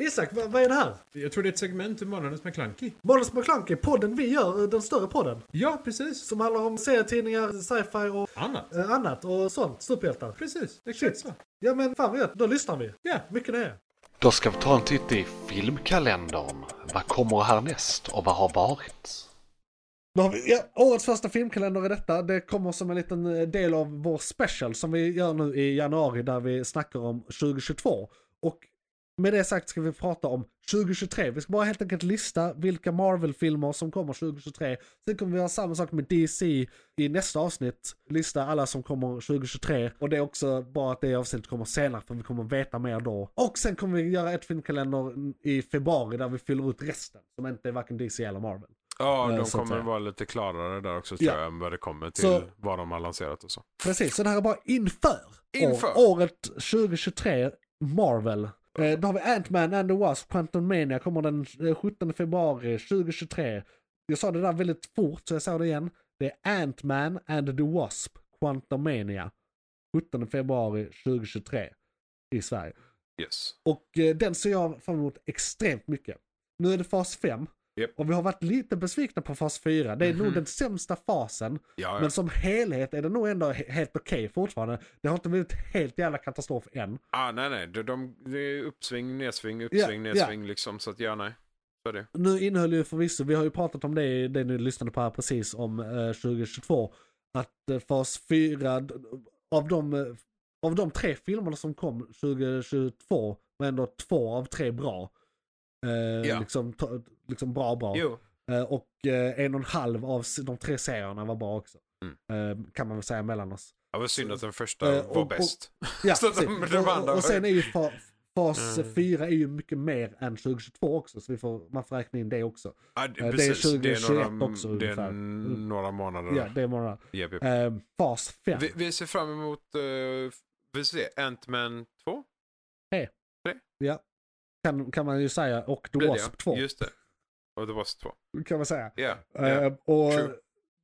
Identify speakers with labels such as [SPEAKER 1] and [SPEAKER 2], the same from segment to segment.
[SPEAKER 1] Isak, vad, vad är det här?
[SPEAKER 2] Jag tror det är ett segment ur Månadens McKlunky.
[SPEAKER 1] Måns McClunky, podden vi gör, eh, den större podden.
[SPEAKER 2] Ja, precis.
[SPEAKER 1] Som handlar om serietidningar, sci-fi och
[SPEAKER 2] Annat.
[SPEAKER 1] eh, annat och sånt. Superhjältar.
[SPEAKER 2] Precis, exakt så.
[SPEAKER 1] Ja men fan vad gött, då lyssnar vi.
[SPEAKER 2] Ja.
[SPEAKER 1] Mycket det.
[SPEAKER 3] Då ska vi ta en titt i filmkalendern. Vad kommer härnäst och vad har varit?
[SPEAKER 1] Då har vi, ja, årets första filmkalender är detta. Det kommer som en liten eh, del av vår special som vi gör nu i januari där vi snackar om 2022. Och med det sagt ska vi prata om 2023. Vi ska bara helt enkelt lista vilka Marvel-filmer som kommer 2023. Sen kommer vi göra samma sak med DC i nästa avsnitt. Lista alla som kommer 2023. Och det är också bara att det avsnittet kommer senare för vi kommer veta mer då. Och sen kommer vi göra ett filmkalender i februari där vi fyller ut resten. Som inte är varken DC eller Marvel.
[SPEAKER 4] Ja,
[SPEAKER 1] Eh, så
[SPEAKER 4] de
[SPEAKER 1] att
[SPEAKER 4] kommer
[SPEAKER 1] säga.
[SPEAKER 4] vara lite klarare där också tror
[SPEAKER 1] Ja.
[SPEAKER 4] jag än vad det kommer till
[SPEAKER 1] Så-
[SPEAKER 4] vad de har lanserat och så.
[SPEAKER 1] Precis, så det här är bara inför,
[SPEAKER 4] Inför.
[SPEAKER 1] År, året 2023, Marvel. Eh, då har vi Ant-Man and the Wasp, Quantum Mania kommer den eh, 17 februari 2023. Jag sa det där väldigt fort så jag sa det igen. Det är Ant-Man and the Wasp, Quantum Mania. 17 februari 2023 i Sverige.
[SPEAKER 4] Yes.
[SPEAKER 1] Och eh, den ser jag fram emot extremt mycket. Nu är det fas 5.
[SPEAKER 4] Japp.
[SPEAKER 1] Och vi har varit lite besvikna på fas 4. Det är nog
[SPEAKER 4] Mhm.
[SPEAKER 1] den sämsta fasen.
[SPEAKER 4] Ja, ja.
[SPEAKER 1] Men som helhet är det nog ändå he- helt okej fortfarande. Det har inte blivit helt jävla katastrof än.
[SPEAKER 4] Ah, nej, nej. De, de, det är uppsving, nedsving, uppsving,
[SPEAKER 1] ja.
[SPEAKER 4] nedsving liksom. Så att ja, nej. Så är det.
[SPEAKER 1] Nu innehöll ju förvisso, vi har ju pratat om det i det ni lyssnade på här precis om eh, 2022. Att eh, fas 4, d- av de, eh, av de tre filmerna som kom 2022 var ändå två av tre bra. Eh,
[SPEAKER 4] Ja.
[SPEAKER 1] liksom, to- liksom bra bra.
[SPEAKER 4] Jo.
[SPEAKER 1] Eh, och eh, en och en halv av s- de tre serierna var bra också.
[SPEAKER 4] Mm.
[SPEAKER 1] Eh, kan man väl säga mellan oss.
[SPEAKER 4] Det var synd att den första
[SPEAKER 1] Eh, och-
[SPEAKER 4] var
[SPEAKER 1] och-
[SPEAKER 4] bäst.
[SPEAKER 1] Ja,
[SPEAKER 4] Så att de-
[SPEAKER 1] precis.
[SPEAKER 4] de
[SPEAKER 1] och,
[SPEAKER 4] andra Mm.
[SPEAKER 1] och, och
[SPEAKER 4] var-
[SPEAKER 1] sen är ju fa, fas 4 är ju mycket mer än 2022 också, så vi får, man får räkna in det också.
[SPEAKER 4] Ja, det,
[SPEAKER 1] Eh, det är
[SPEAKER 4] Ah, precis. Det är
[SPEAKER 1] 2021
[SPEAKER 4] några,
[SPEAKER 1] också
[SPEAKER 4] det
[SPEAKER 1] ungefär. Mm.
[SPEAKER 4] är några månader.
[SPEAKER 1] Ja, det är bara,
[SPEAKER 4] Japp, japp.
[SPEAKER 1] eh, fas 5.
[SPEAKER 4] Vi, vi ser fram emot, eh, vi ser Ant-Man 2
[SPEAKER 1] Kan, kan man ju säga, och The
[SPEAKER 4] blir det
[SPEAKER 1] Wasp 2
[SPEAKER 4] ja. Just det. Och The Wasp 2.
[SPEAKER 1] kan man säga.
[SPEAKER 4] Ja. ja.
[SPEAKER 1] Eh, och
[SPEAKER 4] true.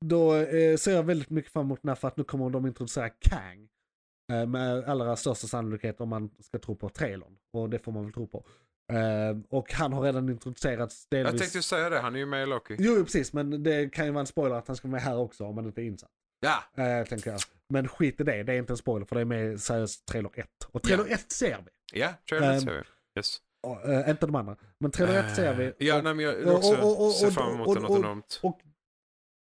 [SPEAKER 1] då eh, ser jag väldigt mycket fram emot den här för att nu kommer de introducera Kang. Eh, med allra största sannolikhet om man ska tro på trailern. Och det får man väl tro på. Eh, och han har redan introducerats delvis.
[SPEAKER 4] Jag tänkte ju säga det, han är ju med i Loki.
[SPEAKER 1] Jo, jo, precis, men det kan ju vara en spoiler att han ska vara med här också om man inte är insatt.
[SPEAKER 4] Ja,
[SPEAKER 1] Eh, tänker jag. Men skit i det, det är inte en spoiler för det är med i seriöst trailer 1. Och trailer 1 ser vi.
[SPEAKER 4] ja, trailern
[SPEAKER 1] Ehm,
[SPEAKER 4] ser vi. Yes. Eh,
[SPEAKER 1] Och, eh, inte de andra. Men trailer 1 ser vi.
[SPEAKER 4] Ja,
[SPEAKER 1] och
[SPEAKER 4] nej, men jag
[SPEAKER 1] och-
[SPEAKER 4] också
[SPEAKER 1] och- och-
[SPEAKER 4] ser
[SPEAKER 1] och-
[SPEAKER 4] fram emot
[SPEAKER 1] och-
[SPEAKER 4] det något
[SPEAKER 1] och-
[SPEAKER 4] enormt.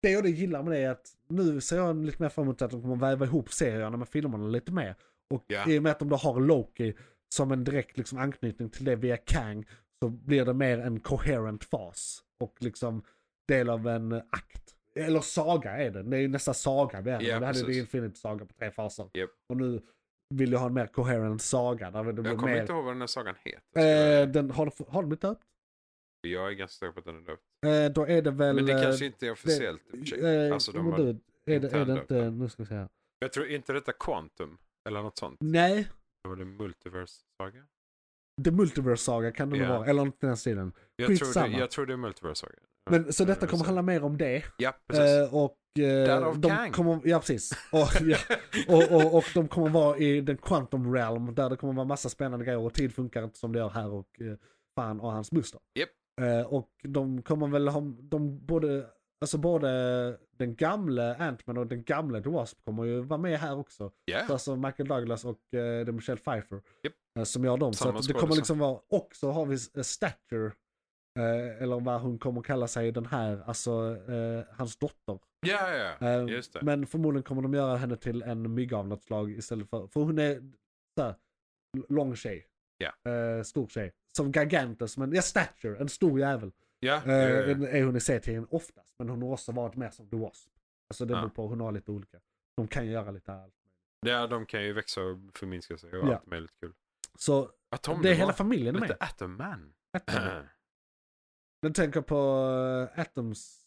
[SPEAKER 1] det jag gillar med det är att nu ser jag lite mer fram emot att de kommer väva ihop serierna med filmerna lite mer. Och
[SPEAKER 4] Ja.
[SPEAKER 1] i och med att de då har Loki som en direkt liksom, anknytning till det via Kang så blir det mer en coherent fas. Och liksom del av en eh, akt. Eller saga är det. Det är ju nästan saga vi är.
[SPEAKER 4] Ja,
[SPEAKER 1] vi hade ju
[SPEAKER 4] precis.
[SPEAKER 1] Infinity Saga på tre faser.
[SPEAKER 4] Japp.
[SPEAKER 1] Och nu vill jag ha en mer coherent saga. Där det blir
[SPEAKER 4] Jag kommer
[SPEAKER 1] mer...
[SPEAKER 4] inte ihåg vad den här sagan heter. ska jag säga.
[SPEAKER 1] Eh, den, har, de- har de blivit döpt?
[SPEAKER 4] Jag är ganska säker på att den är döpt.
[SPEAKER 1] Eh, då är det väl...
[SPEAKER 4] Men det
[SPEAKER 1] eh,
[SPEAKER 4] kanske inte är officiellt. i och för sig.
[SPEAKER 1] eh,
[SPEAKER 4] alltså, de
[SPEAKER 1] men
[SPEAKER 4] har,
[SPEAKER 1] du, är, det, är det
[SPEAKER 4] internt
[SPEAKER 1] inte, nu ska vi se här.
[SPEAKER 4] Jag tror inte detta Quantum eller något sånt.
[SPEAKER 1] Nej,
[SPEAKER 4] Det var det Multiverse-saga?
[SPEAKER 1] The Multiverse Saga kan det nog
[SPEAKER 4] Ja.
[SPEAKER 1] vara, eller något i den här stilen.
[SPEAKER 4] Jag tror, det,
[SPEAKER 1] Skitsamma.
[SPEAKER 4] jag tror det är Multiverse-saga.
[SPEAKER 1] Men, så detta
[SPEAKER 4] Eh,
[SPEAKER 1] kommer handla mer om det.
[SPEAKER 4] Ja, precis.
[SPEAKER 1] Eh, och, eh,
[SPEAKER 4] Därav
[SPEAKER 1] de
[SPEAKER 4] Kang.
[SPEAKER 1] Kommer, ja, precis. Och, ja, och, och, och de kommer vara i den quantum realm där det kommer vara massa spännande grejer och tid funkar inte som det gör här och eh, fan och hans moster.
[SPEAKER 4] Japp.
[SPEAKER 1] Eh, och de kommer väl ha, de både, alltså både den gamle Ant-Man och den gamle The Wasp kommer ju vara med här också.
[SPEAKER 4] Ja,
[SPEAKER 1] Så Alltså Michael Douglas och eh, det är Michelle Pfeiffer.
[SPEAKER 4] Japp.
[SPEAKER 1] eh, Som gör dem.
[SPEAKER 4] Samma
[SPEAKER 1] så att det kommer
[SPEAKER 4] skådis,
[SPEAKER 1] liksom vara, också har vi eh, Stature. Eh, eller vad hon kommer kalla sig i den här, alltså eh, hans dotter.
[SPEAKER 4] ja, ja, ja.
[SPEAKER 1] Eh,
[SPEAKER 4] Just det.
[SPEAKER 1] Men förmodligen kommer de göra henne till en mygga av något slag istället för, för hon är såhär, l- lång tjej. Eh, stor tjej. Som Gargantus, men ja Stature, en stor jävel.
[SPEAKER 4] Ja,
[SPEAKER 1] Eh,
[SPEAKER 4] ja, ja, ja.
[SPEAKER 1] en- är hon i serien oftast, men hon har också varit mer som The Wasp. Alltså det
[SPEAKER 4] Ja.
[SPEAKER 1] beror på, hon har lite olika. De kan ju göra lite allt.
[SPEAKER 4] ja, de kan ju växa och förminska sig och
[SPEAKER 1] Ja.
[SPEAKER 4] allt möjligt kul.
[SPEAKER 1] Så
[SPEAKER 4] Atom,
[SPEAKER 1] det är
[SPEAKER 4] det
[SPEAKER 1] hela
[SPEAKER 4] var
[SPEAKER 1] familjen är
[SPEAKER 4] lite
[SPEAKER 1] med.
[SPEAKER 4] Atom Man.
[SPEAKER 1] Atom. Den tänker på eh, Atoms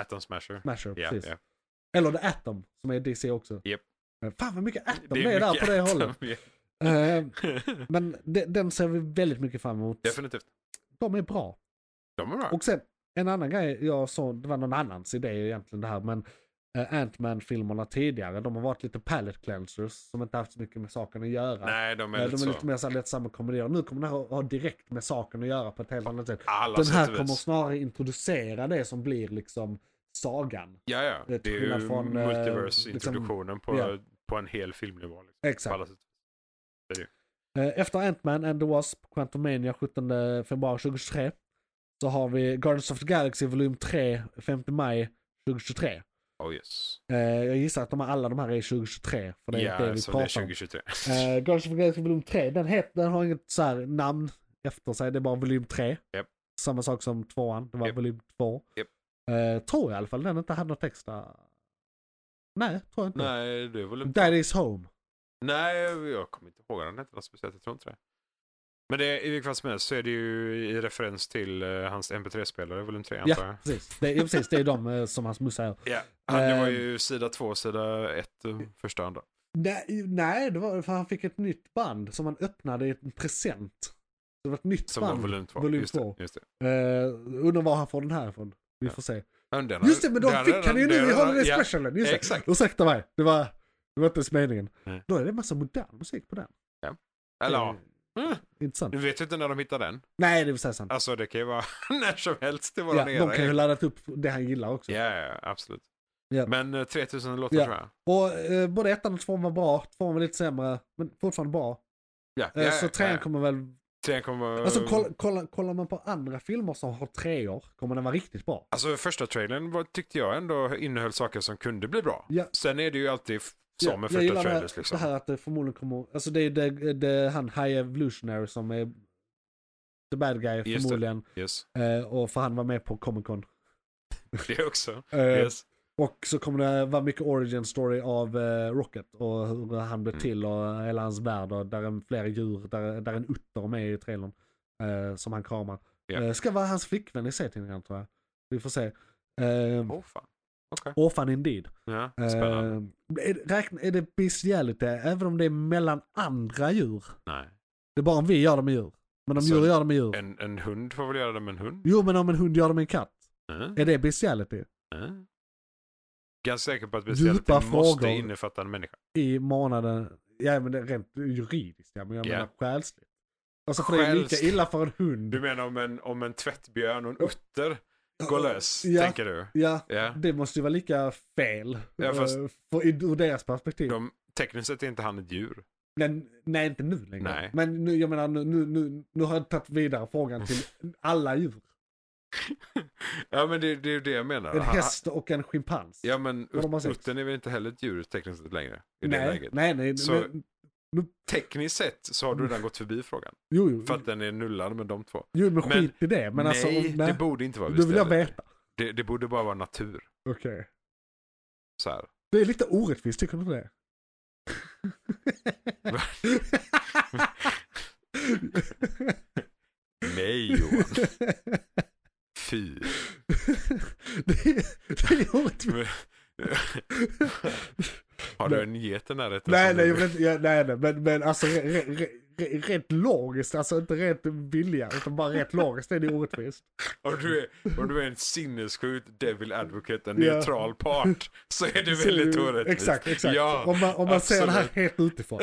[SPEAKER 4] Atom Smasher.
[SPEAKER 1] Smasher,
[SPEAKER 4] Ja,
[SPEAKER 1] precis.
[SPEAKER 4] ja.
[SPEAKER 1] Eller The Atom, som är DC också.
[SPEAKER 4] Japp.
[SPEAKER 1] Eh, Fan vad mycket Atom det är, där på det hållet.
[SPEAKER 4] hållet.
[SPEAKER 1] Eh, men de, den ser vi väldigt mycket fram emot.
[SPEAKER 4] Definitivt.
[SPEAKER 1] De är bra.
[SPEAKER 4] De är bra.
[SPEAKER 1] Och sen, en annan grej jag såg, det var någon annans idé egentligen det här, men eh, Ant-Man-filmerna tidigare. De har varit lite palette cleansers som inte haft så mycket med saken att göra.
[SPEAKER 4] Nej, de är
[SPEAKER 1] Eh,
[SPEAKER 4] lite
[SPEAKER 1] de är
[SPEAKER 4] så.
[SPEAKER 1] lite mer så här lättsamma komedier. Nu kommer det här att ha direkt med saken att göra på ett helt annat sätt.
[SPEAKER 4] Alla
[SPEAKER 1] Den
[SPEAKER 4] sätt
[SPEAKER 1] här
[SPEAKER 4] och vis.
[SPEAKER 1] kommer snarare introducera det som blir liksom sagan.
[SPEAKER 4] Ja, ja.
[SPEAKER 1] Det är
[SPEAKER 4] Det är
[SPEAKER 1] skillnad
[SPEAKER 4] ju
[SPEAKER 1] från, eh, liksom-
[SPEAKER 4] multiverse-introduktionen på,
[SPEAKER 1] ja.
[SPEAKER 4] på en hel filmnivå. Liksom. På
[SPEAKER 1] Exakt.
[SPEAKER 4] alla sätt.
[SPEAKER 1] Eh, Efter Ant-Man and the Wasp, Quantumania 17 februari 2023. Så har vi Guardians of the Galaxy volym 3, 5 maj 2023.
[SPEAKER 4] Oh yes.
[SPEAKER 1] Eh, Jag gissar att de här, alla de här är 2023. För det är
[SPEAKER 4] ja,
[SPEAKER 1] det vi
[SPEAKER 4] så det är
[SPEAKER 1] pratar om.
[SPEAKER 4] 2023.
[SPEAKER 1] Eh, Guardians of the Galaxy volym 3, den, het, den har inget så här namn efter sig, det är bara volym 3.
[SPEAKER 4] Japp.
[SPEAKER 1] Samma sak som tvåan, det var
[SPEAKER 4] Japp.
[SPEAKER 1] volym 2.
[SPEAKER 4] Japp.
[SPEAKER 1] Eh, tror jag i alla fall, den inte hade något extra. Nej, tror jag inte.
[SPEAKER 4] Nej, det är väl...
[SPEAKER 1] That is home.
[SPEAKER 4] Nej, jag kommer inte ihåg den hette något speciellt. Jag tror inte det. Men det, i vilket fall som helst så är det ju i referens till eh, hans MP3-spelare, volym 3 antar jag.
[SPEAKER 1] Ja, precis. Det, ja, precis. Det är de eh, som hans mussa är.
[SPEAKER 4] Ja, han, det var
[SPEAKER 1] Ehm.
[SPEAKER 4] ju sida två, sida ett, eh, första och andra.
[SPEAKER 1] Nej, nej det var, för han fick ett nytt band som han öppnade i en present. Det var ett nytt
[SPEAKER 4] Som var
[SPEAKER 1] band.
[SPEAKER 4] volym två.
[SPEAKER 1] volym
[SPEAKER 4] just
[SPEAKER 1] två.
[SPEAKER 4] Det, just det.
[SPEAKER 1] Eh, undrar var han får den här ifrån. Vi
[SPEAKER 4] Ja.
[SPEAKER 1] får se.
[SPEAKER 4] Ja, den har-
[SPEAKER 1] Just det, men de
[SPEAKER 4] den
[SPEAKER 1] fick
[SPEAKER 4] redan-
[SPEAKER 1] han ju nu
[SPEAKER 4] den
[SPEAKER 1] i
[SPEAKER 4] redan-
[SPEAKER 1] Holiday
[SPEAKER 4] ja,
[SPEAKER 1] Specialen. Just det.
[SPEAKER 4] Exakt.
[SPEAKER 1] Ursäkta mig, det var, det var inte ens meningen.
[SPEAKER 4] Nej.
[SPEAKER 1] Då är det en massa modern musik på den.
[SPEAKER 4] Eller ja, Mm.
[SPEAKER 1] Eh, Intressant.
[SPEAKER 4] nu vet vi inte när de hittar den.
[SPEAKER 1] Nej, det vill säga sant.
[SPEAKER 4] Alltså det kan ju vara när som helst. Det var
[SPEAKER 1] Ja,
[SPEAKER 4] den era.
[SPEAKER 1] de kan ju laddat upp det han gillar också.
[SPEAKER 4] Ja, ja, absolut.
[SPEAKER 1] Ja.
[SPEAKER 4] Men eh, 3000 låtar
[SPEAKER 1] Ja.
[SPEAKER 4] tror jag.
[SPEAKER 1] Och eh, både ettan och tvåan var bra, tvåan var lite sämre, men fortfarande bra.
[SPEAKER 4] Ja,
[SPEAKER 1] Eh,
[SPEAKER 4] ja,
[SPEAKER 1] så
[SPEAKER 4] ja,
[SPEAKER 1] trean
[SPEAKER 4] ja.
[SPEAKER 1] kommer väl...
[SPEAKER 4] Trean kommer vara...
[SPEAKER 1] Alltså kolla, kolla, kollar man på andra filmer som har treor kommer den vara riktigt bra.
[SPEAKER 4] Alltså första trailern var, tyckte jag ändå innehöll saker som kunde bli bra.
[SPEAKER 1] Ja.
[SPEAKER 4] Sen är det ju alltid f- så
[SPEAKER 1] Ja,
[SPEAKER 4] med
[SPEAKER 1] jag
[SPEAKER 4] första
[SPEAKER 1] gillar det,
[SPEAKER 4] trailers
[SPEAKER 1] här-
[SPEAKER 4] liksom.
[SPEAKER 1] det här att det förmodligen kommer, alltså det är det, det, han High Evolutionary som är the bad guy
[SPEAKER 4] det.
[SPEAKER 1] förmodligen.
[SPEAKER 4] Yes.
[SPEAKER 1] Eh, och för han var med på Comic Con.
[SPEAKER 4] Det också.
[SPEAKER 1] Eh,
[SPEAKER 4] Yes.
[SPEAKER 1] Och så kommer det vara mycket origin story av eh, Rocket och hur han blev
[SPEAKER 4] Mm.
[SPEAKER 1] till och hela hans värld och där är flera djur, där, där är en utter med i trailern. Eh, som han kramar.
[SPEAKER 4] Ja.
[SPEAKER 1] Eh, ska vara hans flickvän i serietidningen tror jag. Vi får se. Eh,
[SPEAKER 4] Åh fan. Okej.
[SPEAKER 1] Orphan indeed.
[SPEAKER 4] Ja, spännande.
[SPEAKER 1] Eh, är, det- räkna, är det bestiality även om det är mellan andra djur?
[SPEAKER 4] Nej.
[SPEAKER 1] Det är bara om vi gör det med djur. Men om
[SPEAKER 4] Så
[SPEAKER 1] djur gör det med djur.
[SPEAKER 4] En, en hund får väl göra det med en hund?
[SPEAKER 1] Jo men om en hund gör det med en katt.
[SPEAKER 4] Mm.
[SPEAKER 1] Är det bestiality?
[SPEAKER 4] Mm. Ganska säker på att
[SPEAKER 1] Djupa
[SPEAKER 4] bestiality måste
[SPEAKER 1] frågor.
[SPEAKER 4] innefatta en människa.
[SPEAKER 1] I månaden, ja men det är rent juridiskt ja, men jag
[SPEAKER 4] Ja.
[SPEAKER 1] menar själsligt. Alltså för det är lika
[SPEAKER 4] Själsligt.
[SPEAKER 1] illa för en hund.
[SPEAKER 4] Du menar om en, om en tvättbjörn och en utter går lös,
[SPEAKER 1] Ja.
[SPEAKER 4] tänker du?
[SPEAKER 1] Ja,
[SPEAKER 4] Ja.
[SPEAKER 1] det måste ju vara lika fel.
[SPEAKER 4] Ja, fast-
[SPEAKER 1] eh, för, i- ur deras perspektiv.
[SPEAKER 4] De, tekniskt sett är inte han ett djur.
[SPEAKER 1] Men, nej, inte nu längre.
[SPEAKER 4] Nej.
[SPEAKER 1] Men nu, jag menar, nu, nu, nu, nu har jag tagit vidare frågan till alla djur.
[SPEAKER 4] Ja men det, det är ju det jag menar.
[SPEAKER 1] En
[SPEAKER 4] Han-
[SPEAKER 1] häst och en schimpans.
[SPEAKER 4] Ja men
[SPEAKER 1] Vad de har
[SPEAKER 4] ut-
[SPEAKER 1] sett.
[SPEAKER 4] uttern är väl inte heller ett djur tekniskt sett längre? I det
[SPEAKER 1] nej,
[SPEAKER 4] läget.
[SPEAKER 1] nej, nej.
[SPEAKER 4] Så-
[SPEAKER 1] men-
[SPEAKER 4] Tekniskt sett så har du redan gått förbi frågan.
[SPEAKER 1] jo, jo,
[SPEAKER 4] För att den är nullad med de två.
[SPEAKER 1] jo, men
[SPEAKER 4] men-
[SPEAKER 1] skit i det. Men
[SPEAKER 4] nej,
[SPEAKER 1] alltså, om- nej.
[SPEAKER 4] det borde inte vara
[SPEAKER 1] Nu vill jag
[SPEAKER 4] bestiality.
[SPEAKER 1] veta.
[SPEAKER 4] Det, det borde bara vara natur.
[SPEAKER 1] Okej.
[SPEAKER 4] Så här.
[SPEAKER 1] Det är lite orättvist, tycker du inte det?
[SPEAKER 4] Va? Nej Johan, fy.
[SPEAKER 1] det, är, det är orättvist.
[SPEAKER 4] Men- Har du en get i närheten?
[SPEAKER 1] Nej,
[SPEAKER 4] som
[SPEAKER 1] nej,
[SPEAKER 4] du-
[SPEAKER 1] jag vill inte, ja, nej, nej, men, men alltså re, re, re, rätt logiskt, alltså inte rätt vilja, utan bara rätt logiskt är det orättvist.
[SPEAKER 4] Om du, är, om du är en sinnessjuk devil advocate, en
[SPEAKER 1] Ja.
[SPEAKER 4] neutral part, så är det
[SPEAKER 1] Så-
[SPEAKER 4] väldigt orättvist.
[SPEAKER 1] Exakt, exakt.
[SPEAKER 4] Ja,
[SPEAKER 1] om man, om man ser det här
[SPEAKER 4] absolut.
[SPEAKER 1] helt utifrån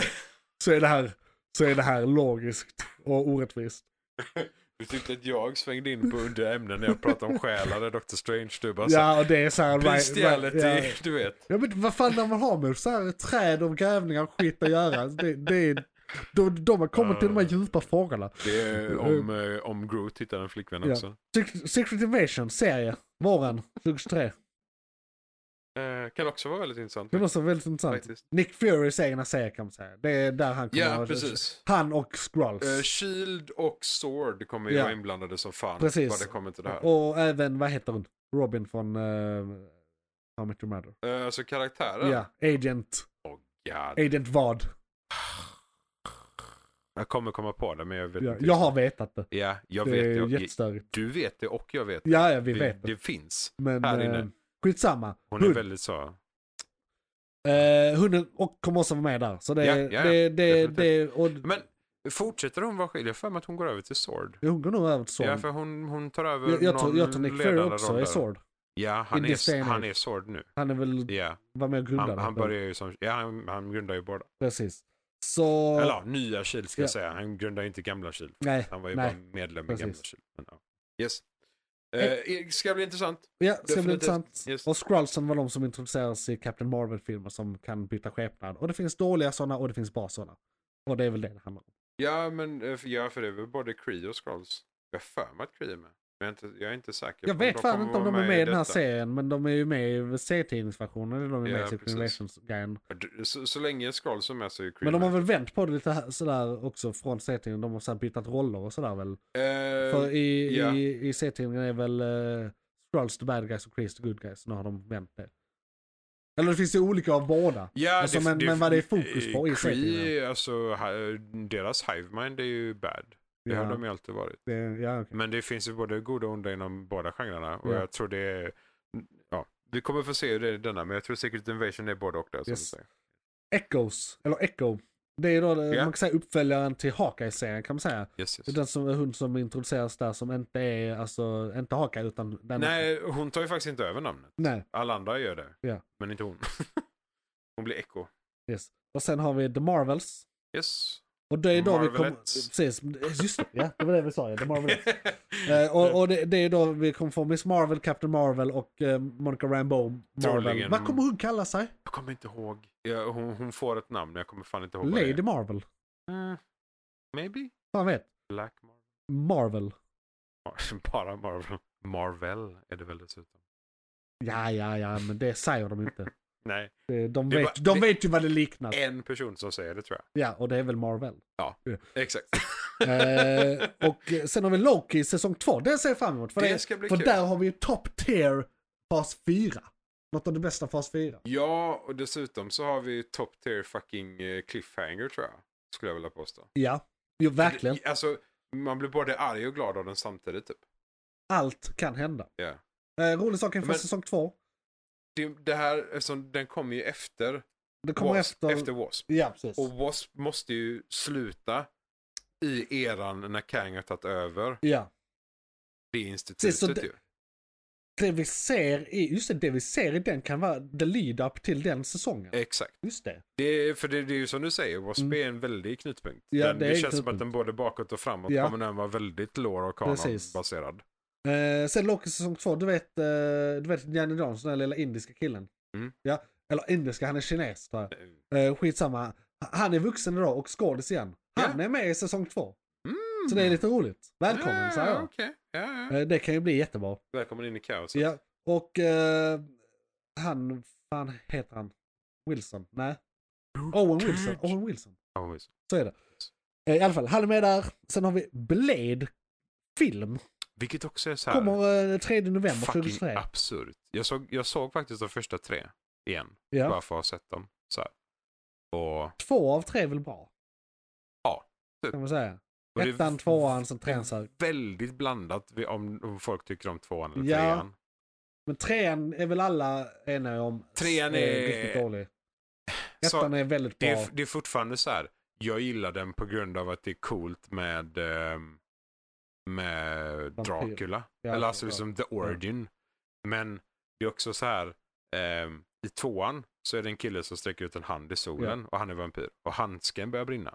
[SPEAKER 1] så är det här, så är det här logiskt och orättvist.
[SPEAKER 4] Du tyckte att jag svängde in på under ämnen när jag pratade om själar i Doctor Strange. Du bara ja,
[SPEAKER 1] Ja, och det är så här...
[SPEAKER 4] Alltså, bestiality,
[SPEAKER 1] ja.
[SPEAKER 4] du vet.
[SPEAKER 1] Ja men vad fan när man har med så här träd och grävningar och skit att göra. Det, det är, de, de har kommit till de här djupa frågorna.
[SPEAKER 4] Det är om, eh, om Groot hittar en flickvän
[SPEAKER 1] Mm. Ja.
[SPEAKER 4] också.
[SPEAKER 1] Sec- Secret Invasion serie, våren 2023.
[SPEAKER 4] Eh, kan också vara väldigt intressant.
[SPEAKER 1] Det är också väldigt intressant.
[SPEAKER 4] Faktiskt.
[SPEAKER 1] Nick Furys egna serie kan man säga. Det är där han kommer
[SPEAKER 4] Ja,
[SPEAKER 1] att-
[SPEAKER 4] precis.
[SPEAKER 1] Han och Skrulls.
[SPEAKER 4] Eh, Shield och Sword kommer ju
[SPEAKER 1] Ja.
[SPEAKER 4] vara inblandade som fan.
[SPEAKER 1] Precis.
[SPEAKER 4] Vad det kommer till det här.
[SPEAKER 1] och även, vad heter hon? Robin från uh, How I Met Your Mother.
[SPEAKER 4] Eh, alltså karaktären.
[SPEAKER 1] Ja, Agent.
[SPEAKER 4] God.
[SPEAKER 1] Agent vad?
[SPEAKER 4] Jag kommer komma på det men jag vet
[SPEAKER 1] Ja,
[SPEAKER 4] inte.
[SPEAKER 1] jag har vetat det.
[SPEAKER 4] Ja, jag
[SPEAKER 1] Det
[SPEAKER 4] vet
[SPEAKER 1] är
[SPEAKER 4] det. Jag,
[SPEAKER 1] jättestörigt.
[SPEAKER 4] du vet det och jag vet det.
[SPEAKER 1] Ja, ja, vi
[SPEAKER 4] Det-
[SPEAKER 1] vet det.
[SPEAKER 4] det finns.
[SPEAKER 1] Men
[SPEAKER 4] här
[SPEAKER 1] eh,
[SPEAKER 4] inne.
[SPEAKER 1] skitsamma.
[SPEAKER 4] Hon är
[SPEAKER 1] Hund.
[SPEAKER 4] väldigt så.
[SPEAKER 1] Eh, hunden och kommer också vara med där. Så det,
[SPEAKER 4] Ja, ja, ja.
[SPEAKER 1] det, det,
[SPEAKER 4] Definitivt.
[SPEAKER 1] det och
[SPEAKER 4] Men fortsätter hon vara skyldig? Jag har för mig att hon går över till Sword.
[SPEAKER 1] hon går nog över till Sword.
[SPEAKER 4] Ja, för hon, hon tar över
[SPEAKER 1] jag, jag,
[SPEAKER 4] någon
[SPEAKER 1] tror, jag tror Nick Fury
[SPEAKER 4] ledarroll
[SPEAKER 1] också är
[SPEAKER 4] där.
[SPEAKER 1] Sword.
[SPEAKER 4] Ja, han
[SPEAKER 1] In this day
[SPEAKER 4] är,
[SPEAKER 1] and
[SPEAKER 4] han
[SPEAKER 1] age.
[SPEAKER 4] är Sword nu.
[SPEAKER 1] Han är väl,
[SPEAKER 4] Ja,
[SPEAKER 1] var med och grundade.
[SPEAKER 4] han, han
[SPEAKER 1] den.
[SPEAKER 4] börjar ju som... Ja, han, han grundar ju båda.
[SPEAKER 1] Precis. Så...
[SPEAKER 4] Eller ja, nya Kil ska
[SPEAKER 1] Ja.
[SPEAKER 4] jag säga. Han grundar ju inte gamla Kil.
[SPEAKER 1] nej,
[SPEAKER 4] Han var ju
[SPEAKER 1] nej.
[SPEAKER 4] bara medlem i
[SPEAKER 1] precis.
[SPEAKER 4] gamla Kil. Men, ja. Yes. Eh, ska bli intressant.
[SPEAKER 1] Ja, det ska bli
[SPEAKER 4] Definitivt.
[SPEAKER 1] intressant.
[SPEAKER 4] Yes.
[SPEAKER 1] Och Skrullsen var de som introduceras i Captain Marvel-filmer som kan byta skepnad. Och det finns dåliga sådana och det finns bra sådana. Och det är väl det det handlar om.
[SPEAKER 4] Ja, men eh, för- ja, för det är väl både Kree och Skrulls. Jag har för mig att Kree är med. Jag är inte, jag är inte säker.
[SPEAKER 1] Jag,
[SPEAKER 4] på om
[SPEAKER 1] vet fan
[SPEAKER 4] kommer
[SPEAKER 1] inte om
[SPEAKER 4] vara
[SPEAKER 1] de är med i den här
[SPEAKER 4] detta.
[SPEAKER 1] serien, men de är ju med i serietidningsversionen. Eller de är
[SPEAKER 4] Ja,
[SPEAKER 1] med i
[SPEAKER 4] precis.
[SPEAKER 1] Situations-grejen.
[SPEAKER 4] Så, så länge Skrulls är med så är Kree
[SPEAKER 1] Men de har
[SPEAKER 4] med.
[SPEAKER 1] väl vänt på det lite här, sådär också från serietidningen. De har så här bytt roller och sådär väl.
[SPEAKER 4] Eh,
[SPEAKER 1] För i,
[SPEAKER 4] ja.
[SPEAKER 1] i, i serietidningen är väl uh, Skrulls the bad guys och Chris the good guys. Nu har de vänt det. Eller det finns ju olika av båda.
[SPEAKER 4] Ja,
[SPEAKER 1] Alltså, men- men vad det är fokus på i
[SPEAKER 4] eh,
[SPEAKER 1] serietidningarna.
[SPEAKER 4] Kree, alltså ha- deras hivemind är ju bad. Det har
[SPEAKER 1] Ja.
[SPEAKER 4] de ju alltid varit.
[SPEAKER 1] Det, ja, okej.
[SPEAKER 4] Men det finns ju både goda och onda inom båda genrerna. Och
[SPEAKER 1] Ja.
[SPEAKER 4] jag tror det är... Ja, vi kommer få se hur det är i denna. Men jag tror Secret Invasion är både och där. som
[SPEAKER 1] Yes.
[SPEAKER 4] du säger.
[SPEAKER 1] Echoes, eller Echo. Det är då, eh,
[SPEAKER 4] Ja.
[SPEAKER 1] man kan säga uppföljaren till Hawkeye-serien kan man säga.
[SPEAKER 4] Yes,
[SPEAKER 1] Det är
[SPEAKER 4] yes.
[SPEAKER 1] den som, hund som introduceras där som inte är, alltså, inte Hawkeye utan den.
[SPEAKER 4] Nej, hon tar ju faktiskt inte över namnet.
[SPEAKER 1] Nej,
[SPEAKER 4] Alla andra gör det.
[SPEAKER 1] Ja.
[SPEAKER 4] Men inte hon. hon blir Echo.
[SPEAKER 1] yes. Och sen har vi The Marvels.
[SPEAKER 4] Yes.
[SPEAKER 1] Och det är då vi kommer...
[SPEAKER 4] Marvelettes.
[SPEAKER 1] Precis, eh, just det. Ja, det var det vi sa ja. The Marvelettes. Eh, och och det, det är då vi kommer få Miss Marvel, Captain Marvel och eh, Monica Rambeau. Marvel.
[SPEAKER 4] Troligen.
[SPEAKER 1] Vad kommer hon kalla sig?
[SPEAKER 4] Jag kommer inte ihåg. Ja, hon, hon får ett namn, jag kommer fan inte ihåg vad det
[SPEAKER 1] Lady
[SPEAKER 4] är.
[SPEAKER 1] Marvel.
[SPEAKER 4] Mm. Maybe?
[SPEAKER 1] Fan vet.
[SPEAKER 4] Black Marvel?
[SPEAKER 1] Marvel.
[SPEAKER 4] Mar- Bara Marvel. Marvel är det väl dessutom.
[SPEAKER 1] Ja, ja, ja, men det säger de inte.
[SPEAKER 4] Nej,
[SPEAKER 1] Det- De
[SPEAKER 4] Det är
[SPEAKER 1] vet,
[SPEAKER 4] bara-
[SPEAKER 1] de
[SPEAKER 4] det- Eh.
[SPEAKER 1] vet ju vad det liknar.
[SPEAKER 4] en person som säger det tror
[SPEAKER 1] Ja, och det är väl Marvel.
[SPEAKER 4] jag. Exakt.
[SPEAKER 1] eh, och eh, sen har vi Loki säsong 2. Den ser jag fram emot. För, det
[SPEAKER 4] Det ska bli
[SPEAKER 1] för
[SPEAKER 4] kul.
[SPEAKER 1] där har vi ju top tier fas 4. Något av det bästa fas 4.
[SPEAKER 4] Ja, och dessutom så har vi top tier fucking eh, cliffhanger tror jag. Skulle jag vilja påstå.
[SPEAKER 1] Ja, jo, verkligen.
[SPEAKER 4] Det- Alltså, man blir både arg och glad av den samtidigt typ.
[SPEAKER 1] Allt kan hända.
[SPEAKER 4] Ja.
[SPEAKER 1] Eh, rolig sak inför
[SPEAKER 4] Men-
[SPEAKER 1] säsong 2.
[SPEAKER 4] Det, det här, eftersom den kommer ju efter
[SPEAKER 1] Det kommer
[SPEAKER 4] Wasp,
[SPEAKER 1] efter...
[SPEAKER 4] efter Oh. Wasp.
[SPEAKER 1] Ja, precis.
[SPEAKER 4] Och W.A.S.P. måste ju sluta i eran när Kang har tagit över
[SPEAKER 1] Ja.
[SPEAKER 4] det institutet
[SPEAKER 1] Så det-
[SPEAKER 4] ju.
[SPEAKER 1] Det vi ser i, just det, det vi ser i den kan vara the lead-up till den säsongen.
[SPEAKER 4] Exakt.
[SPEAKER 1] Just det.
[SPEAKER 4] Det är, för det, det är ju som du säger, W.A.S.P. är en väldig knutpunkt.
[SPEAKER 1] Mm. Ja,
[SPEAKER 4] den,
[SPEAKER 1] det
[SPEAKER 4] det
[SPEAKER 1] är en
[SPEAKER 4] känns som
[SPEAKER 1] knutpunkt.
[SPEAKER 4] att den både bakåt och framåt
[SPEAKER 1] Ja.
[SPEAKER 4] kommer den vara väldigt lore och
[SPEAKER 1] Precis.
[SPEAKER 4] kanon-baserad.
[SPEAKER 1] Eh, sen Loki säsong två, du vet, eh, du vet Janne Jansson, den lilla indiska killen.
[SPEAKER 4] Mm.
[SPEAKER 1] Ja, eller indiska, han är kines tror jag. Eh, skitsamma. Han är vuxen idag och skådis igen. Han är med i säsong två.
[SPEAKER 4] Mm.
[SPEAKER 1] Så det är lite roligt. Välkommen
[SPEAKER 4] ja,
[SPEAKER 1] säger jag.
[SPEAKER 4] okej. ja, ja.
[SPEAKER 1] Eh, det kan ju bli jättebra.
[SPEAKER 4] Välkommen in i kaoset.
[SPEAKER 1] Ja. Och eh, han, fan heter han? Wilson? Nej. Owen Wilson. Owen Wilson.
[SPEAKER 4] Ja, visst.
[SPEAKER 1] Så är det. Eh, I alla fall, han är med där. Sen har vi Blade film.
[SPEAKER 4] Vilket också är så här
[SPEAKER 1] Kommer eh, 3 november
[SPEAKER 4] fucking
[SPEAKER 1] 2023.
[SPEAKER 4] absurt. Jag såg, jag såg faktiskt de första tre igen.
[SPEAKER 1] Ja.
[SPEAKER 4] Bara för att ha sett dem. Så här. Och,
[SPEAKER 1] Två av tre är väl bra?
[SPEAKER 4] Ja, typ.
[SPEAKER 1] Kan man säga.
[SPEAKER 4] och det-
[SPEAKER 1] Ettan, tvåan, sen trean. Så. här.
[SPEAKER 4] väldigt blandat vi- om, om folk tycker om tvåan eller
[SPEAKER 1] Ja.
[SPEAKER 4] trean.
[SPEAKER 1] Men trean är väl alla eniga om. Eh,
[SPEAKER 4] Trean är-
[SPEAKER 1] Riktigt dålig.
[SPEAKER 4] Så-
[SPEAKER 1] Ettan är väldigt
[SPEAKER 4] Det
[SPEAKER 1] bra.
[SPEAKER 4] är, det är fortfarande så här, jag gillar den på grund av att det är coolt med, ehm, med
[SPEAKER 1] Vampyr.
[SPEAKER 4] Dracula.
[SPEAKER 1] Ja,
[SPEAKER 4] eller alltså
[SPEAKER 1] ja.
[SPEAKER 4] liksom the origin. Men det är också så här, ehm, i tvåan så är det en kille som sträcker ut en hand i solen och han är vampyr. Och handsken börjar brinna.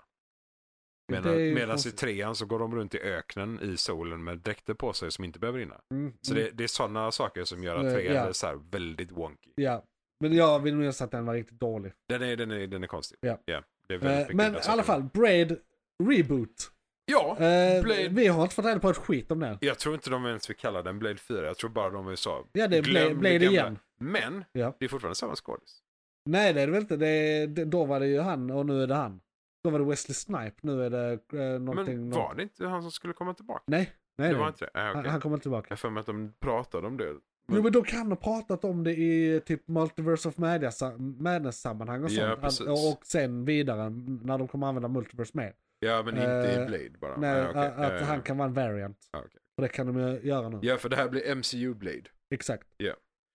[SPEAKER 1] Det
[SPEAKER 4] Medan,
[SPEAKER 1] är ju
[SPEAKER 4] medan i
[SPEAKER 1] konstigt.
[SPEAKER 4] trean så går de runt i öknen i solen med dräkter på sig som inte börjar brinna.
[SPEAKER 1] Mm,
[SPEAKER 4] Så
[SPEAKER 1] mm,
[SPEAKER 4] det, det är sådana saker som gör
[SPEAKER 1] Eh,
[SPEAKER 4] att trean
[SPEAKER 1] ja.
[SPEAKER 4] är så här väldigt wonky.
[SPEAKER 1] Ja. Men jag vill nog säga att den var riktigt dålig.
[SPEAKER 4] Den är, den är, den är konstig.
[SPEAKER 1] Ja.
[SPEAKER 4] det är väldigt
[SPEAKER 1] Eh,
[SPEAKER 4] mycket
[SPEAKER 1] Men i
[SPEAKER 4] där
[SPEAKER 1] alla
[SPEAKER 4] saker.
[SPEAKER 1] fall, Braid Reboot.
[SPEAKER 4] Ja,
[SPEAKER 1] Eh,
[SPEAKER 4] Blade.
[SPEAKER 1] Vi har inte fått reda på ett skit om den.
[SPEAKER 4] Jag tror inte de ens vill kalla den Blade 4. Jag tror bara de vill sa
[SPEAKER 1] Ja, det är
[SPEAKER 4] glöm
[SPEAKER 1] Blade,
[SPEAKER 4] det
[SPEAKER 1] Blade
[SPEAKER 4] gamla.
[SPEAKER 1] igen.
[SPEAKER 4] Men
[SPEAKER 1] Ja.
[SPEAKER 4] det är fortfarande samma skådis.
[SPEAKER 1] Nej, det är det väl inte. Det, är- det, då var det ju han och nu är det han. Då var det Wesley Snipe, nu är det eh, någonting...
[SPEAKER 4] Men
[SPEAKER 1] någon-
[SPEAKER 4] var det inte han som skulle komma tillbaka?
[SPEAKER 1] Nej, nej.
[SPEAKER 4] det var
[SPEAKER 1] nej.
[SPEAKER 4] inte det? Nej,
[SPEAKER 1] Han,
[SPEAKER 4] okej.
[SPEAKER 1] han kommer inte tillbaka.
[SPEAKER 4] Jag har för mig att de pratade om det.
[SPEAKER 1] Jo men de kan ha pratat om det i typ Multiverse of Madness- Madness-sammanhang och
[SPEAKER 4] Ja,
[SPEAKER 1] sånt.
[SPEAKER 4] precis.
[SPEAKER 1] Att- och sen vidare när de kommer använda Multiverse mer.
[SPEAKER 4] Ja, men inte
[SPEAKER 1] Eh,
[SPEAKER 4] i Blade bara.
[SPEAKER 1] Nej,
[SPEAKER 4] Ja, okej.
[SPEAKER 1] att att
[SPEAKER 4] Ja, ja,
[SPEAKER 1] han kan vara en variant.
[SPEAKER 4] ja, okej.
[SPEAKER 1] Och det kan de ju göra nu.
[SPEAKER 4] Ja, för det här blir MCU Blade.
[SPEAKER 1] Exakt.
[SPEAKER 4] Ja.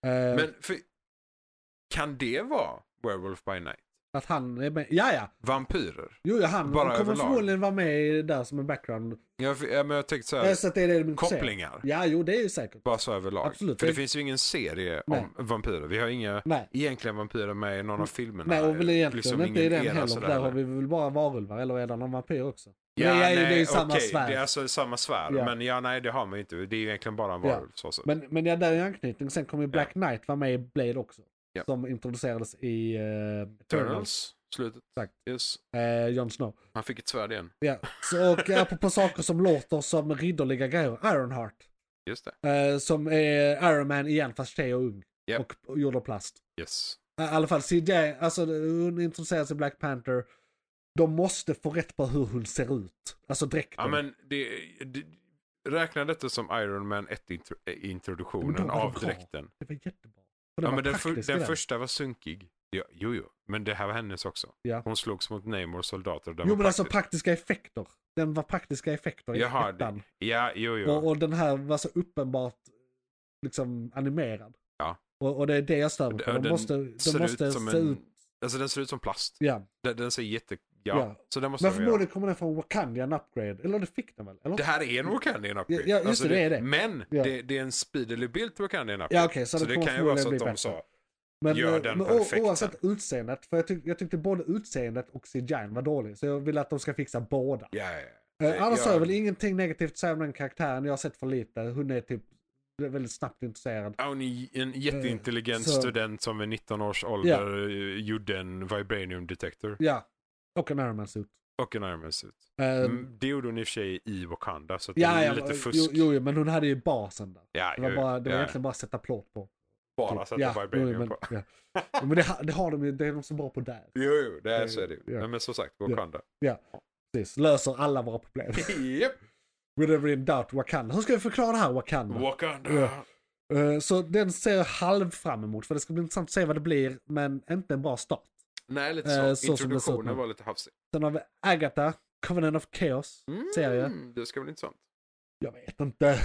[SPEAKER 1] Eh,
[SPEAKER 4] Men för... kan det vara Werewolf by Night?
[SPEAKER 1] Att han är med. Ja, ja.
[SPEAKER 4] Vampyrer?
[SPEAKER 1] Jo, ja, han
[SPEAKER 4] Bara
[SPEAKER 1] kommer
[SPEAKER 4] överlag.
[SPEAKER 1] förmodligen vara med där som en background.
[SPEAKER 4] Jag, ja, men jag tänkte så här,
[SPEAKER 1] Äh, Så att det är det de inte säger.
[SPEAKER 4] kopplingar.
[SPEAKER 1] Ja, jo, det är ju säkert.
[SPEAKER 4] Bara så överlag.
[SPEAKER 1] Absolut.
[SPEAKER 4] För det
[SPEAKER 1] Det-
[SPEAKER 4] finns ju ingen serie
[SPEAKER 1] Nej.
[SPEAKER 4] om vampyrer. Vi har inga
[SPEAKER 1] Nej.
[SPEAKER 4] egentliga vampyrer med i någon av filmerna.
[SPEAKER 1] Nej, och väl egentligen
[SPEAKER 4] Liksom
[SPEAKER 1] inte i
[SPEAKER 4] ingen
[SPEAKER 1] den
[SPEAKER 4] era
[SPEAKER 1] heller.
[SPEAKER 4] sådär,
[SPEAKER 1] Där
[SPEAKER 4] eller?
[SPEAKER 1] har vi väl bara varulvar, eller är det någon vampyr också?
[SPEAKER 4] Ja,
[SPEAKER 1] det, är,
[SPEAKER 4] nej,
[SPEAKER 1] ju- det är ju samma
[SPEAKER 4] okej,
[SPEAKER 1] svärd.
[SPEAKER 4] Det är alltså samma svär.
[SPEAKER 1] Ja.
[SPEAKER 4] Men ja, nej, det har man ju inte. Det är ju egentligen bara en
[SPEAKER 1] Ja.
[SPEAKER 4] varulv. Så, så.
[SPEAKER 1] Men, men ja, där är anknytning. Sen kommer ju Black Knight vara med i Blade också.
[SPEAKER 4] Ja.
[SPEAKER 1] Som introducerades i uh, Eternals.
[SPEAKER 4] Eternals, slutet.
[SPEAKER 1] Exakt.
[SPEAKER 4] Yes.
[SPEAKER 1] Eh, Jon Snow.
[SPEAKER 4] Han fick ett svärd igen.
[SPEAKER 1] Ja. Så, och eh, apropå saker som låter som ridderliga grejer. Ironheart.
[SPEAKER 4] Just det.
[SPEAKER 1] eh, som är Iron Man igen fast tjej och ung.
[SPEAKER 4] Ja.
[SPEAKER 1] Och, och gjord av plast.
[SPEAKER 4] Yes.
[SPEAKER 1] Eh, I alla fall CJ, alltså hon introduceras i Black Panther. De måste få rätt på hur hon ser ut. Alltså dräkten.
[SPEAKER 4] Ja, men det, det, räkna detta som Iron Man 1-introduktionen
[SPEAKER 1] Men då var det
[SPEAKER 4] av
[SPEAKER 1] bra.
[SPEAKER 4] dräkten.
[SPEAKER 1] Det var jättebra. Och
[SPEAKER 4] Ja,
[SPEAKER 1] var
[SPEAKER 4] men den, för,
[SPEAKER 1] praktisk i
[SPEAKER 4] den första var sunkig. Ja, jo, jo. Men det här var hennes också.
[SPEAKER 1] Ja.
[SPEAKER 4] Hon slogs mot Namors soldater. och Den
[SPEAKER 1] Jo
[SPEAKER 4] var
[SPEAKER 1] men alltså
[SPEAKER 4] praktisk.
[SPEAKER 1] praktiska effekter. Den var praktiska effekter i
[SPEAKER 4] Jaha, det-
[SPEAKER 1] ettan.
[SPEAKER 4] Ja, jo, jo.
[SPEAKER 1] Och, och den här var så uppenbart liksom animerad.
[SPEAKER 4] Ja.
[SPEAKER 1] Och, och det är det jag stör mig på.
[SPEAKER 4] Ja,
[SPEAKER 1] De
[SPEAKER 4] den
[SPEAKER 1] måste, de
[SPEAKER 4] ser
[SPEAKER 1] måste
[SPEAKER 4] ut som
[SPEAKER 1] se
[SPEAKER 4] en-
[SPEAKER 1] ut...
[SPEAKER 4] Alltså den ser ut som plast.
[SPEAKER 1] Ja.
[SPEAKER 4] Den, den ser jätte... Ja.
[SPEAKER 1] Ja.
[SPEAKER 4] Så den måste
[SPEAKER 1] Men
[SPEAKER 4] de göra.
[SPEAKER 1] förmodligen kommer den från Wakandian upgrade. Eller det fick den väl? Eller?
[SPEAKER 4] Det här är en Wakandian upgrade.
[SPEAKER 1] Ja, ja, just det, det är det.
[SPEAKER 4] Alltså, Men
[SPEAKER 1] Ja.
[SPEAKER 4] det, det är en speedily built Wakandian upgrade.
[SPEAKER 1] Ja, okej, så det kommer
[SPEAKER 4] kan ju vara så att
[SPEAKER 1] förmodligen
[SPEAKER 4] de
[SPEAKER 1] bli
[SPEAKER 4] sa,
[SPEAKER 1] men,
[SPEAKER 4] gör
[SPEAKER 1] eh,
[SPEAKER 4] den
[SPEAKER 1] men o-
[SPEAKER 4] perfekt
[SPEAKER 1] oavsett utseendet. För jag, tyck, jag tyckte både utseendet och CGI'n var dålig. Så jag vill att de ska fixa båda.
[SPEAKER 4] ja, ja, ja.
[SPEAKER 1] Eh, annars
[SPEAKER 4] Ja,
[SPEAKER 1] har jag väl ingenting negativt att säga om den karaktären. Jag har sett för lite. Hon är typ väldigt snabbt intresserad.
[SPEAKER 4] ja, hon är en jätteintelligent
[SPEAKER 1] Eh, så-
[SPEAKER 4] student som vid 19 års ålder eh, gjorde en vibranium detector
[SPEAKER 1] Ja. Och en Iron Man suit.
[SPEAKER 4] och en Iron Man suit.
[SPEAKER 1] Eh,
[SPEAKER 4] Mm, Det gjorde hon i och för sig i Wakanda så att det
[SPEAKER 1] ja,
[SPEAKER 4] är
[SPEAKER 1] ja,
[SPEAKER 4] lite fusk.
[SPEAKER 1] jo, jo, jo, men hon hade ju basen där.
[SPEAKER 4] ja,
[SPEAKER 1] Det var,
[SPEAKER 4] jo,
[SPEAKER 1] bara, det var
[SPEAKER 4] ja.
[SPEAKER 1] egentligen bara att sätta plåt på. Typ.
[SPEAKER 4] bara sätta
[SPEAKER 1] ja,
[SPEAKER 4] vibranium
[SPEAKER 1] jo, men,
[SPEAKER 4] på.
[SPEAKER 1] Ja. Jo, Men det, ha- det har de ju, det är de så bra på där.
[SPEAKER 4] Jo, jo, det är, så är det ju.
[SPEAKER 1] Ja.
[SPEAKER 4] Men, men som sagt, Wakanda.
[SPEAKER 1] Precis, löser alla våra problem.
[SPEAKER 4] Japp.
[SPEAKER 1] Whatever in doubt, Wakanda. Hur ska vi förklara det här
[SPEAKER 4] Mm.
[SPEAKER 1] Wakanda?
[SPEAKER 4] Wakanda.
[SPEAKER 1] Ja. Eh, så den ser jag halv fram emot, för det ska bli intressant att se vad det blir, men inte en bra start.
[SPEAKER 4] Nej, lite
[SPEAKER 1] Eh,
[SPEAKER 4] så.
[SPEAKER 1] så som det ser ut nu.
[SPEAKER 4] Introduktionen var lite hafsig.
[SPEAKER 1] Sen har vi Agatha, Covenant of Chaos, serie.
[SPEAKER 4] Mm, det ska bli intressant.
[SPEAKER 1] Jag vet inte.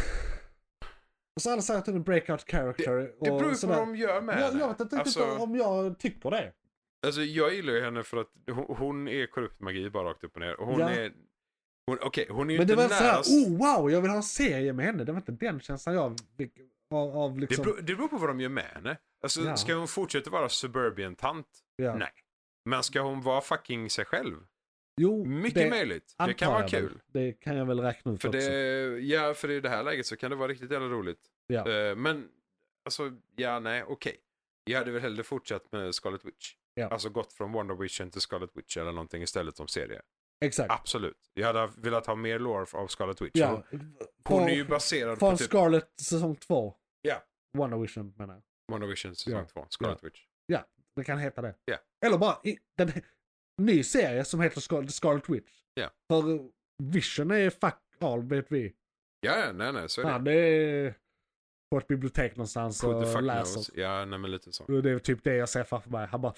[SPEAKER 1] Och så alla säger att hon är en breakout character.
[SPEAKER 4] Det beror ju
[SPEAKER 1] och
[SPEAKER 4] på
[SPEAKER 1] sådär.
[SPEAKER 4] vad de gör med
[SPEAKER 1] jag,
[SPEAKER 4] henne.
[SPEAKER 1] jag vet inte riktigt
[SPEAKER 4] alltså,
[SPEAKER 1] om jag tycker det.
[SPEAKER 4] alltså, jag gillar ju henne för att hon, hon är korrupt magi bara rakt upp och ner. Och hon
[SPEAKER 1] Ja.
[SPEAKER 4] är... Hon, Okej, hon är ju
[SPEAKER 1] Men det
[SPEAKER 4] inte
[SPEAKER 1] var inte såhär,
[SPEAKER 4] nära...
[SPEAKER 1] oh wow, jag vill ha en serie med henne. Det var inte den känslan jag fick av, av
[SPEAKER 4] det,
[SPEAKER 1] liksom...
[SPEAKER 4] beror, det beror på vad de gör med henne. Alltså,
[SPEAKER 1] Ja.
[SPEAKER 4] ska hon fortsätta vara suburbian-tant?
[SPEAKER 1] ja.
[SPEAKER 4] Nej. Men ska hon vara fucking sig själv?
[SPEAKER 1] Jo,
[SPEAKER 4] Mycket
[SPEAKER 1] det
[SPEAKER 4] möjligt. Det
[SPEAKER 1] antar
[SPEAKER 4] kan vara
[SPEAKER 1] jag väl.
[SPEAKER 4] kul.
[SPEAKER 1] Det kan jag väl räkna ut
[SPEAKER 4] För
[SPEAKER 1] också.
[SPEAKER 4] det, ja, för i det här läget så kan det vara riktigt jävla roligt.
[SPEAKER 1] Ja.
[SPEAKER 4] Eh, men, alltså, ja, nej, okej. Jag hade väl hellre fortsatt med Scarlet Witch.
[SPEAKER 1] Ja.
[SPEAKER 4] Alltså gått från Wonder Vision till Scarlet Witch eller någonting istället som serie.
[SPEAKER 1] Exakt.
[SPEAKER 4] Absolut. Jag hade velat ha mer lore av Scarlet Witch. Hon,
[SPEAKER 1] ja.
[SPEAKER 4] hon
[SPEAKER 1] Från-
[SPEAKER 4] är ju baserad på
[SPEAKER 1] Från
[SPEAKER 4] typ
[SPEAKER 1] Scarlet säsong 2.
[SPEAKER 4] Ja.
[SPEAKER 1] Wonder Vision menar jag.
[SPEAKER 4] Wonder Vision säsong
[SPEAKER 1] Ja.
[SPEAKER 4] 2, Scarlet Witch.
[SPEAKER 1] Det kan heta det.
[SPEAKER 4] Ja.
[SPEAKER 1] Eller bara i, den ny serie som heter Scar- Scarlet Witch.
[SPEAKER 4] Ja.
[SPEAKER 1] För Vision är fuck all vet vi.
[SPEAKER 4] Ja, ja, nej, nej, så är det.
[SPEAKER 1] Han är på ett bibliotek någonstans
[SPEAKER 4] Who the
[SPEAKER 1] och
[SPEAKER 4] fuck
[SPEAKER 1] läser.
[SPEAKER 4] knows? Ja, nej, men lite så.
[SPEAKER 1] Och Det är typ det jag ser framför mig. Han bara,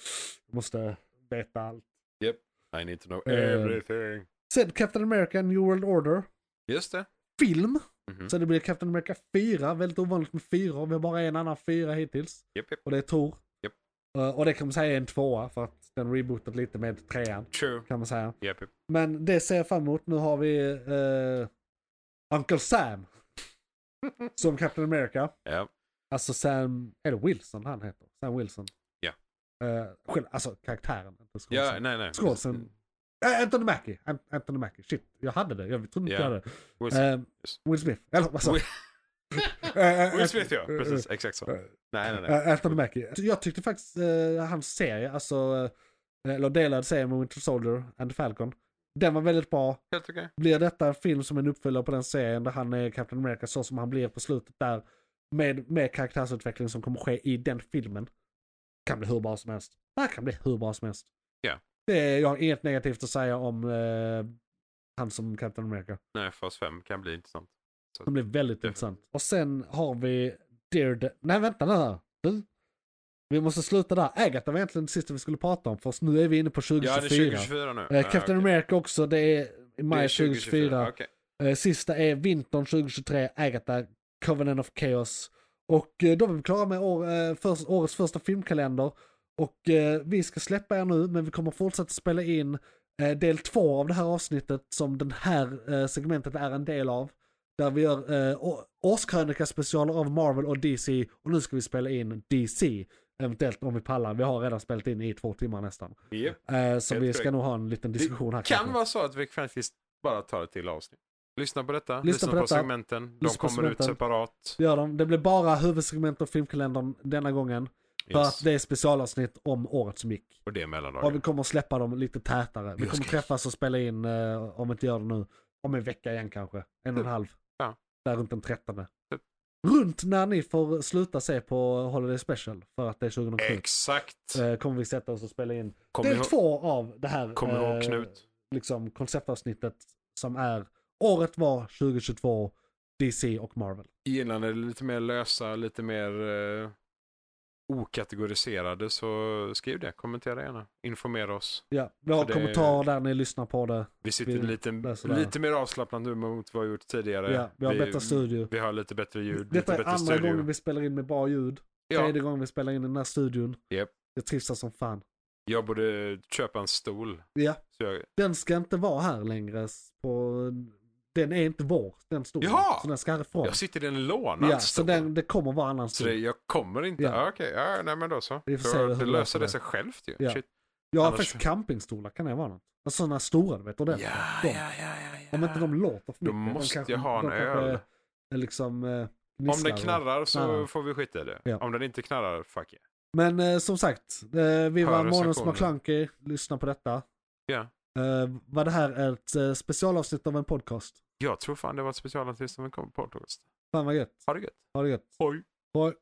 [SPEAKER 1] måste veta allt.
[SPEAKER 4] I need to know
[SPEAKER 1] Eh.
[SPEAKER 4] everything.
[SPEAKER 1] Sen Captain America New World Order.
[SPEAKER 4] Just det.
[SPEAKER 1] Film.
[SPEAKER 4] Mhm.
[SPEAKER 1] Så det blir Captain America 4. Väldigt ovanligt med 4. och Vi har bara en annan 4 hittills.
[SPEAKER 4] Japp, japp.
[SPEAKER 1] Och det är Tor.
[SPEAKER 4] Japp.
[SPEAKER 1] Eh, och det kan man säga är en tvåa för att den rebootat lite med trean.
[SPEAKER 4] True.
[SPEAKER 1] Kan man säga.
[SPEAKER 4] Japp, japp.
[SPEAKER 1] Men det ser jag fram emot. Nu har vi eh, Uncle Sam. som Captain America.
[SPEAKER 4] Ja.
[SPEAKER 1] Alltså Sam, är det Wilson han heter? Sam Wilson.
[SPEAKER 4] Ja.
[SPEAKER 1] Eh, själv, alltså karaktären. Inte
[SPEAKER 4] ja,
[SPEAKER 1] skådisen.
[SPEAKER 4] nej, nej.
[SPEAKER 1] Skådisen. Eh, Anthony Mackie. An- Anthony Mackie. Shit, jag hade det. Jag trodde inte
[SPEAKER 4] Ja.
[SPEAKER 1] jag hade det.
[SPEAKER 4] Will Smith.
[SPEAKER 1] Eh, Will Smith. Eller vad sa jag?
[SPEAKER 4] Will-
[SPEAKER 1] Eh, eh,
[SPEAKER 4] Will Smith, ja.
[SPEAKER 1] eh, eh,
[SPEAKER 4] Precis, exakt så.
[SPEAKER 1] eh,
[SPEAKER 4] Nej, nej, nej.
[SPEAKER 1] eh, Anthony Mackie. Jag tyckte faktiskt eh, hans serie, alltså, eh, eller delad serie med Winter Soldier and the Falcon. Den var väldigt bra.
[SPEAKER 4] Helt okej.
[SPEAKER 1] Blir detta en film som en uppföljare på den serien där han är Captain America så som han blir på slutet där. Med, med karaktärsutveckling som kommer ske i den filmen. Kan bli hur bra som helst. Det här kan bli hur bra som helst.
[SPEAKER 4] Ja.
[SPEAKER 1] Det är, jag har inget negativt att säga om eh, han som Captain America.
[SPEAKER 4] Nej, fas 5 kan bli intressant.
[SPEAKER 1] Det blir
[SPEAKER 4] Mm.
[SPEAKER 1] väldigt intressant. Och sen har vi Daredevil. Nej vänta nu här. Du. Vi måste sluta där. Agatha var egentligen det sista vi skulle prata om. För nu är vi inne på
[SPEAKER 4] Ja,
[SPEAKER 1] 2024.
[SPEAKER 4] det är 2024 nu.
[SPEAKER 1] Eh,
[SPEAKER 4] Ja,
[SPEAKER 1] Captain
[SPEAKER 4] okej.
[SPEAKER 1] America också. Det är i
[SPEAKER 4] Det
[SPEAKER 1] maj
[SPEAKER 4] är
[SPEAKER 1] 2024.
[SPEAKER 4] okej.
[SPEAKER 1] Eh, Sista är vintern 2023, Agatha, Covenant of Chaos. Och eh, då är vi klara med år, eh, först, årets första filmkalender. Och eh, vi ska släppa er nu, men vi kommer fortsätta spela in eh, del två av det här avsnittet som den här eh, segmentet är en del av. Där vi gör eh, å- årskrönika-specialer av Marvel och DC och nu ska vi spela in DC. Eventuellt om vi pallar, vi har redan spelat in i två timmar nästan.
[SPEAKER 4] Yep.
[SPEAKER 1] Eh, så
[SPEAKER 4] Helt
[SPEAKER 1] vi ska
[SPEAKER 4] korrekt.
[SPEAKER 1] nog ha en liten diskussion här. kanske.
[SPEAKER 4] Kan vara så att vi faktiskt bara tar ett till avsnitt. Lyssna på detta, lyssna, på,
[SPEAKER 1] detta.
[SPEAKER 4] segmenten. De
[SPEAKER 1] Lyssna på
[SPEAKER 4] kommer
[SPEAKER 1] segmenten.
[SPEAKER 4] ut separat.
[SPEAKER 1] Det gör de. Det blir bara huvudsegment och filmkalendern denna gången. För
[SPEAKER 4] Yes.
[SPEAKER 1] att det är specialavsnitt om året som gick.
[SPEAKER 4] Och det är mellandagar.
[SPEAKER 1] Och vi kommer att släppa dem lite tätare. Vi
[SPEAKER 4] Just
[SPEAKER 1] kommer
[SPEAKER 4] det.
[SPEAKER 1] träffas och spela in, eh, om vi inte gör det nu, om en vecka igen kanske. En och en
[SPEAKER 4] Ja.
[SPEAKER 1] halv.
[SPEAKER 4] Mm. Ja.
[SPEAKER 1] Där runt den trettonde.
[SPEAKER 4] Typ.
[SPEAKER 1] Runt när ni får sluta se på Holiday Special, för att det är 2007.
[SPEAKER 4] Exakt.
[SPEAKER 1] Eh, kommer vi sätta oss och spela in
[SPEAKER 4] Kom
[SPEAKER 1] del
[SPEAKER 4] ihåg,
[SPEAKER 1] två av det här
[SPEAKER 4] kom
[SPEAKER 1] eh,
[SPEAKER 4] ihåg Knut.
[SPEAKER 1] liksom, konceptavsnittet som är året var 2022, DC och Marvel.
[SPEAKER 4] Innan är det lite mer lösa, lite mer eh, okategoriserade så skriv det. Kommentera gärna. Informera oss.
[SPEAKER 1] Ja, vi har
[SPEAKER 4] För det-
[SPEAKER 1] kommentarer där ni lyssnar på det.
[SPEAKER 4] Vi sitter
[SPEAKER 1] Vi-
[SPEAKER 4] lite,
[SPEAKER 1] läser det här.
[SPEAKER 4] lite mer avslappnat nu mot vad vi gjort tidigare.
[SPEAKER 1] Ja, vi har bättre studio.
[SPEAKER 4] Vi har lite bättre ljud,
[SPEAKER 1] Detta
[SPEAKER 4] lite
[SPEAKER 1] är
[SPEAKER 4] bättre
[SPEAKER 1] andra
[SPEAKER 4] studio.
[SPEAKER 1] gången vi spelar in med bra ljud.
[SPEAKER 4] ja,
[SPEAKER 1] Tredje gången vi spelar in i den här studion.
[SPEAKER 4] Japp.
[SPEAKER 1] Jag trivs här som fan.
[SPEAKER 4] jag borde köpa en stol.
[SPEAKER 1] Ja.
[SPEAKER 4] Så jag,
[SPEAKER 1] Den ska inte vara här längre. På... Den är inte vår, den stolen.
[SPEAKER 4] Jaha!
[SPEAKER 1] Så den ska härifrån.
[SPEAKER 4] jag sitter i en lånad
[SPEAKER 1] Ja, så
[SPEAKER 4] stol.
[SPEAKER 1] den, det kommer vara annan
[SPEAKER 4] Så det,
[SPEAKER 1] stol.
[SPEAKER 4] jag kommer inte.
[SPEAKER 1] Ja.
[SPEAKER 4] Ja. Okej, ja, nej men då så.
[SPEAKER 1] Vi får se
[SPEAKER 4] För
[SPEAKER 1] hur
[SPEAKER 4] det
[SPEAKER 1] det
[SPEAKER 4] löser
[SPEAKER 1] låter.
[SPEAKER 4] det sig självt ju.
[SPEAKER 1] Ja.
[SPEAKER 4] Shit.
[SPEAKER 1] Jag har
[SPEAKER 4] annars-
[SPEAKER 1] faktiskt campingstolar, kan det vara något? Alltså sådana stora, du vet, och
[SPEAKER 4] Ja,
[SPEAKER 1] den.
[SPEAKER 4] ja,
[SPEAKER 1] de.
[SPEAKER 4] ja, ja, ja.
[SPEAKER 1] Om inte de låter för
[SPEAKER 4] Då
[SPEAKER 1] mycket. de
[SPEAKER 4] måste
[SPEAKER 1] kanske,
[SPEAKER 4] jag ha en
[SPEAKER 1] de kanske
[SPEAKER 4] öl.
[SPEAKER 1] är Liksom, eh,
[SPEAKER 4] Om
[SPEAKER 1] gnisslar
[SPEAKER 4] den
[SPEAKER 1] och-
[SPEAKER 4] knarrar så
[SPEAKER 1] Knarrar.
[SPEAKER 4] får vi skita i det.
[SPEAKER 1] Ja.
[SPEAKER 4] Om den inte knarrar, fuck yeah.
[SPEAKER 1] Men eh, som sagt, eh, vi
[SPEAKER 4] Hör
[SPEAKER 1] var Månens
[SPEAKER 4] recensionen.
[SPEAKER 1] McKlunky, lyssna på detta.
[SPEAKER 4] Ja.
[SPEAKER 1] Eh, var det här är ett eh, specialavsnitt av en podcast?
[SPEAKER 4] Jag tror fan det var ett specialartist som kom på podcast.
[SPEAKER 1] Fan vad gött.
[SPEAKER 4] Har det gött.
[SPEAKER 1] Ha det gött.
[SPEAKER 4] Oj.
[SPEAKER 1] Hej.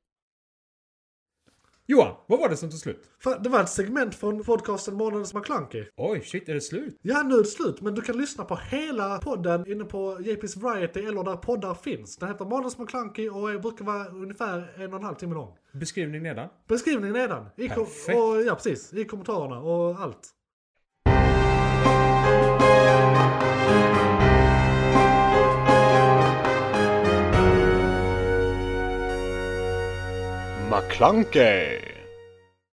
[SPEAKER 2] Johan, vad var det som tog slut?
[SPEAKER 1] Fan, Det var ett segment från podcasten Månadens McKlunky.
[SPEAKER 2] Oj, shit, är det slut?
[SPEAKER 1] Ja, nu är det slut, men du kan lyssna på hela podden inne på JP's Variety eller där poddar finns. Den heter Månadens McKlunky och är- brukar vara ungefär en och en halv timme lång.
[SPEAKER 2] Beskrivning nedan.
[SPEAKER 1] Beskrivningen nedan. I kom-
[SPEAKER 2] Perfekt.
[SPEAKER 1] och, ja, precis. I kommentarerna och allt.
[SPEAKER 3] McClunkey!